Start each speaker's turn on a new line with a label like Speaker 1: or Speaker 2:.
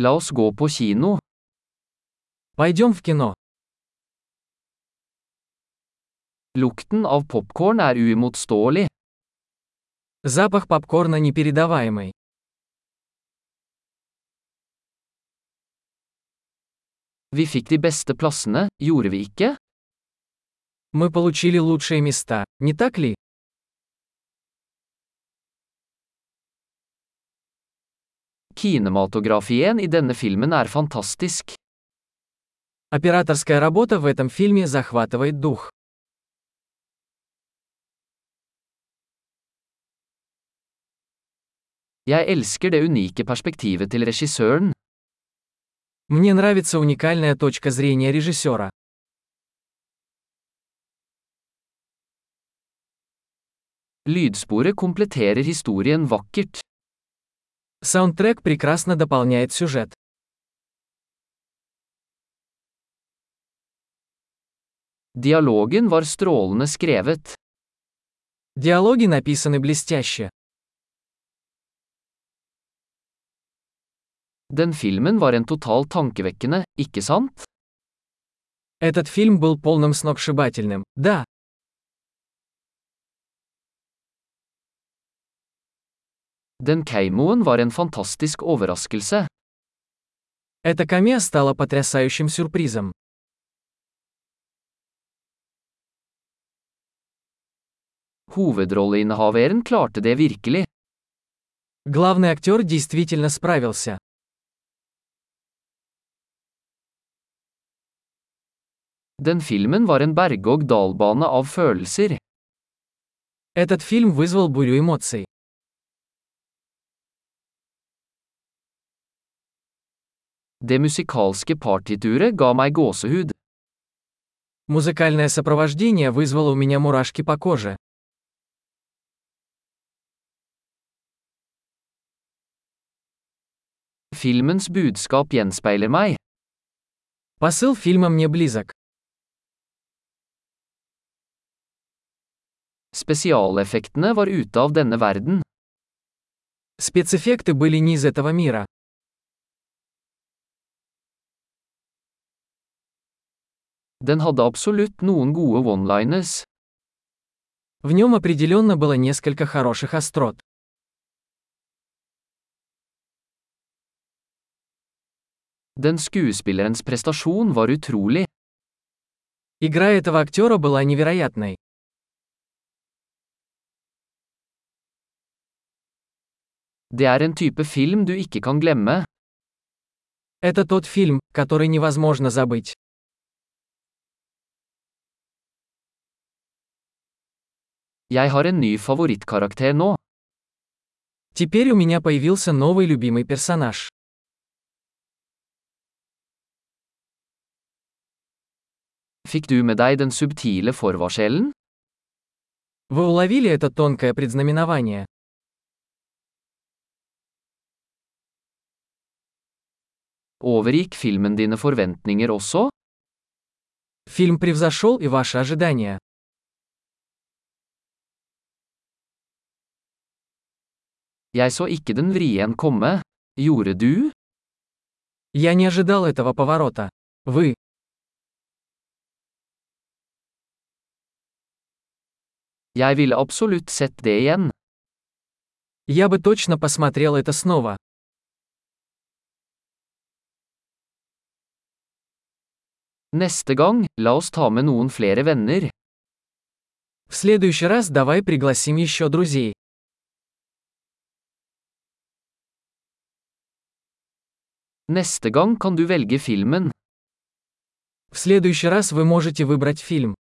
Speaker 1: La oss gå på kino.
Speaker 2: Пойдем в кино.
Speaker 1: Lukten av popkorn er uimotståelig.
Speaker 2: Запах попкорна непередаваемый.
Speaker 1: Vi fikk de beste plassene, gjorde vi ikke?
Speaker 2: Мы получили лучшие места, не так ли?
Speaker 1: Kinematografien i denne filmen er fantastisk.
Speaker 2: Операторская работа в этом фильме захватывает дух.
Speaker 1: Jeg elsker det unike perspektivet til regissøren.
Speaker 2: Мне нравится уникальная точка зрения режиссера.
Speaker 1: Lydsporet kompletterer historien vakkert.
Speaker 2: Саундтрек прекрасно дополняет сюжет.
Speaker 1: Dialogen var strålende skrevet.
Speaker 2: Диалоги написаны блестяще.
Speaker 1: Den filmen var en total tankevekkende, ikke sant?
Speaker 2: Этот фильм был полным сногсшибательным. Да,
Speaker 1: Den keimoen var en fantastisk overraskelse.
Speaker 2: эта камея стала потрясающим сюрпризом.
Speaker 1: Hovedrolleinnehaveren klarte det virkelig.
Speaker 2: Главный актер действительно справился.
Speaker 1: Den filmen var en berg-og-dal-bane av følelser.
Speaker 2: Этот фильм вызвал бурю эмоций.
Speaker 1: Det musikalske partituret ga meg gåsehud.
Speaker 2: Музыкальное сопровождение вызвало у меня мурашки по коже.
Speaker 1: Filmens budskap gjenspeiler meg.
Speaker 2: Посыл фильма мне близок.
Speaker 1: Spesialeffektene var ute av denne verden.
Speaker 2: Спецэффекты были не из этого мира.
Speaker 1: Den hadde absolutt noen gode one-liners.
Speaker 2: В нем определенно было несколько хороших острот.
Speaker 1: Den skuespillerens prestasjon var utrolig.
Speaker 2: Игра этого актера была невероятной.
Speaker 1: Det er en type film du ikke kan glemme.
Speaker 2: Это тот фильм, который невозможно забыть.
Speaker 1: Jeg har en ny favorittkarakter nå.
Speaker 2: Теперь у меня появился новый любимый персонаж.
Speaker 1: Fikk du med deg den subtile forvarselen?
Speaker 2: Вы уловили это тонкое предзнаменование?
Speaker 1: Overgikk filmen dine forventninger også?
Speaker 2: Фильм превзошел и ваши ожидания.
Speaker 1: Jeg så ikke den vrien komme. Gjorde du?
Speaker 2: Я не ожидал этого поворота. Вы.
Speaker 1: Jeg ville absolutt sett det igjen.
Speaker 2: Я бы точно посмотрел это снова.
Speaker 1: Neste gang, la oss ta med noen flere venner.
Speaker 2: В следующий раз давай пригласим еще друзей.
Speaker 1: Neste gang kan du velge filmen.
Speaker 2: В следующий раз вы можете выбрать фильм.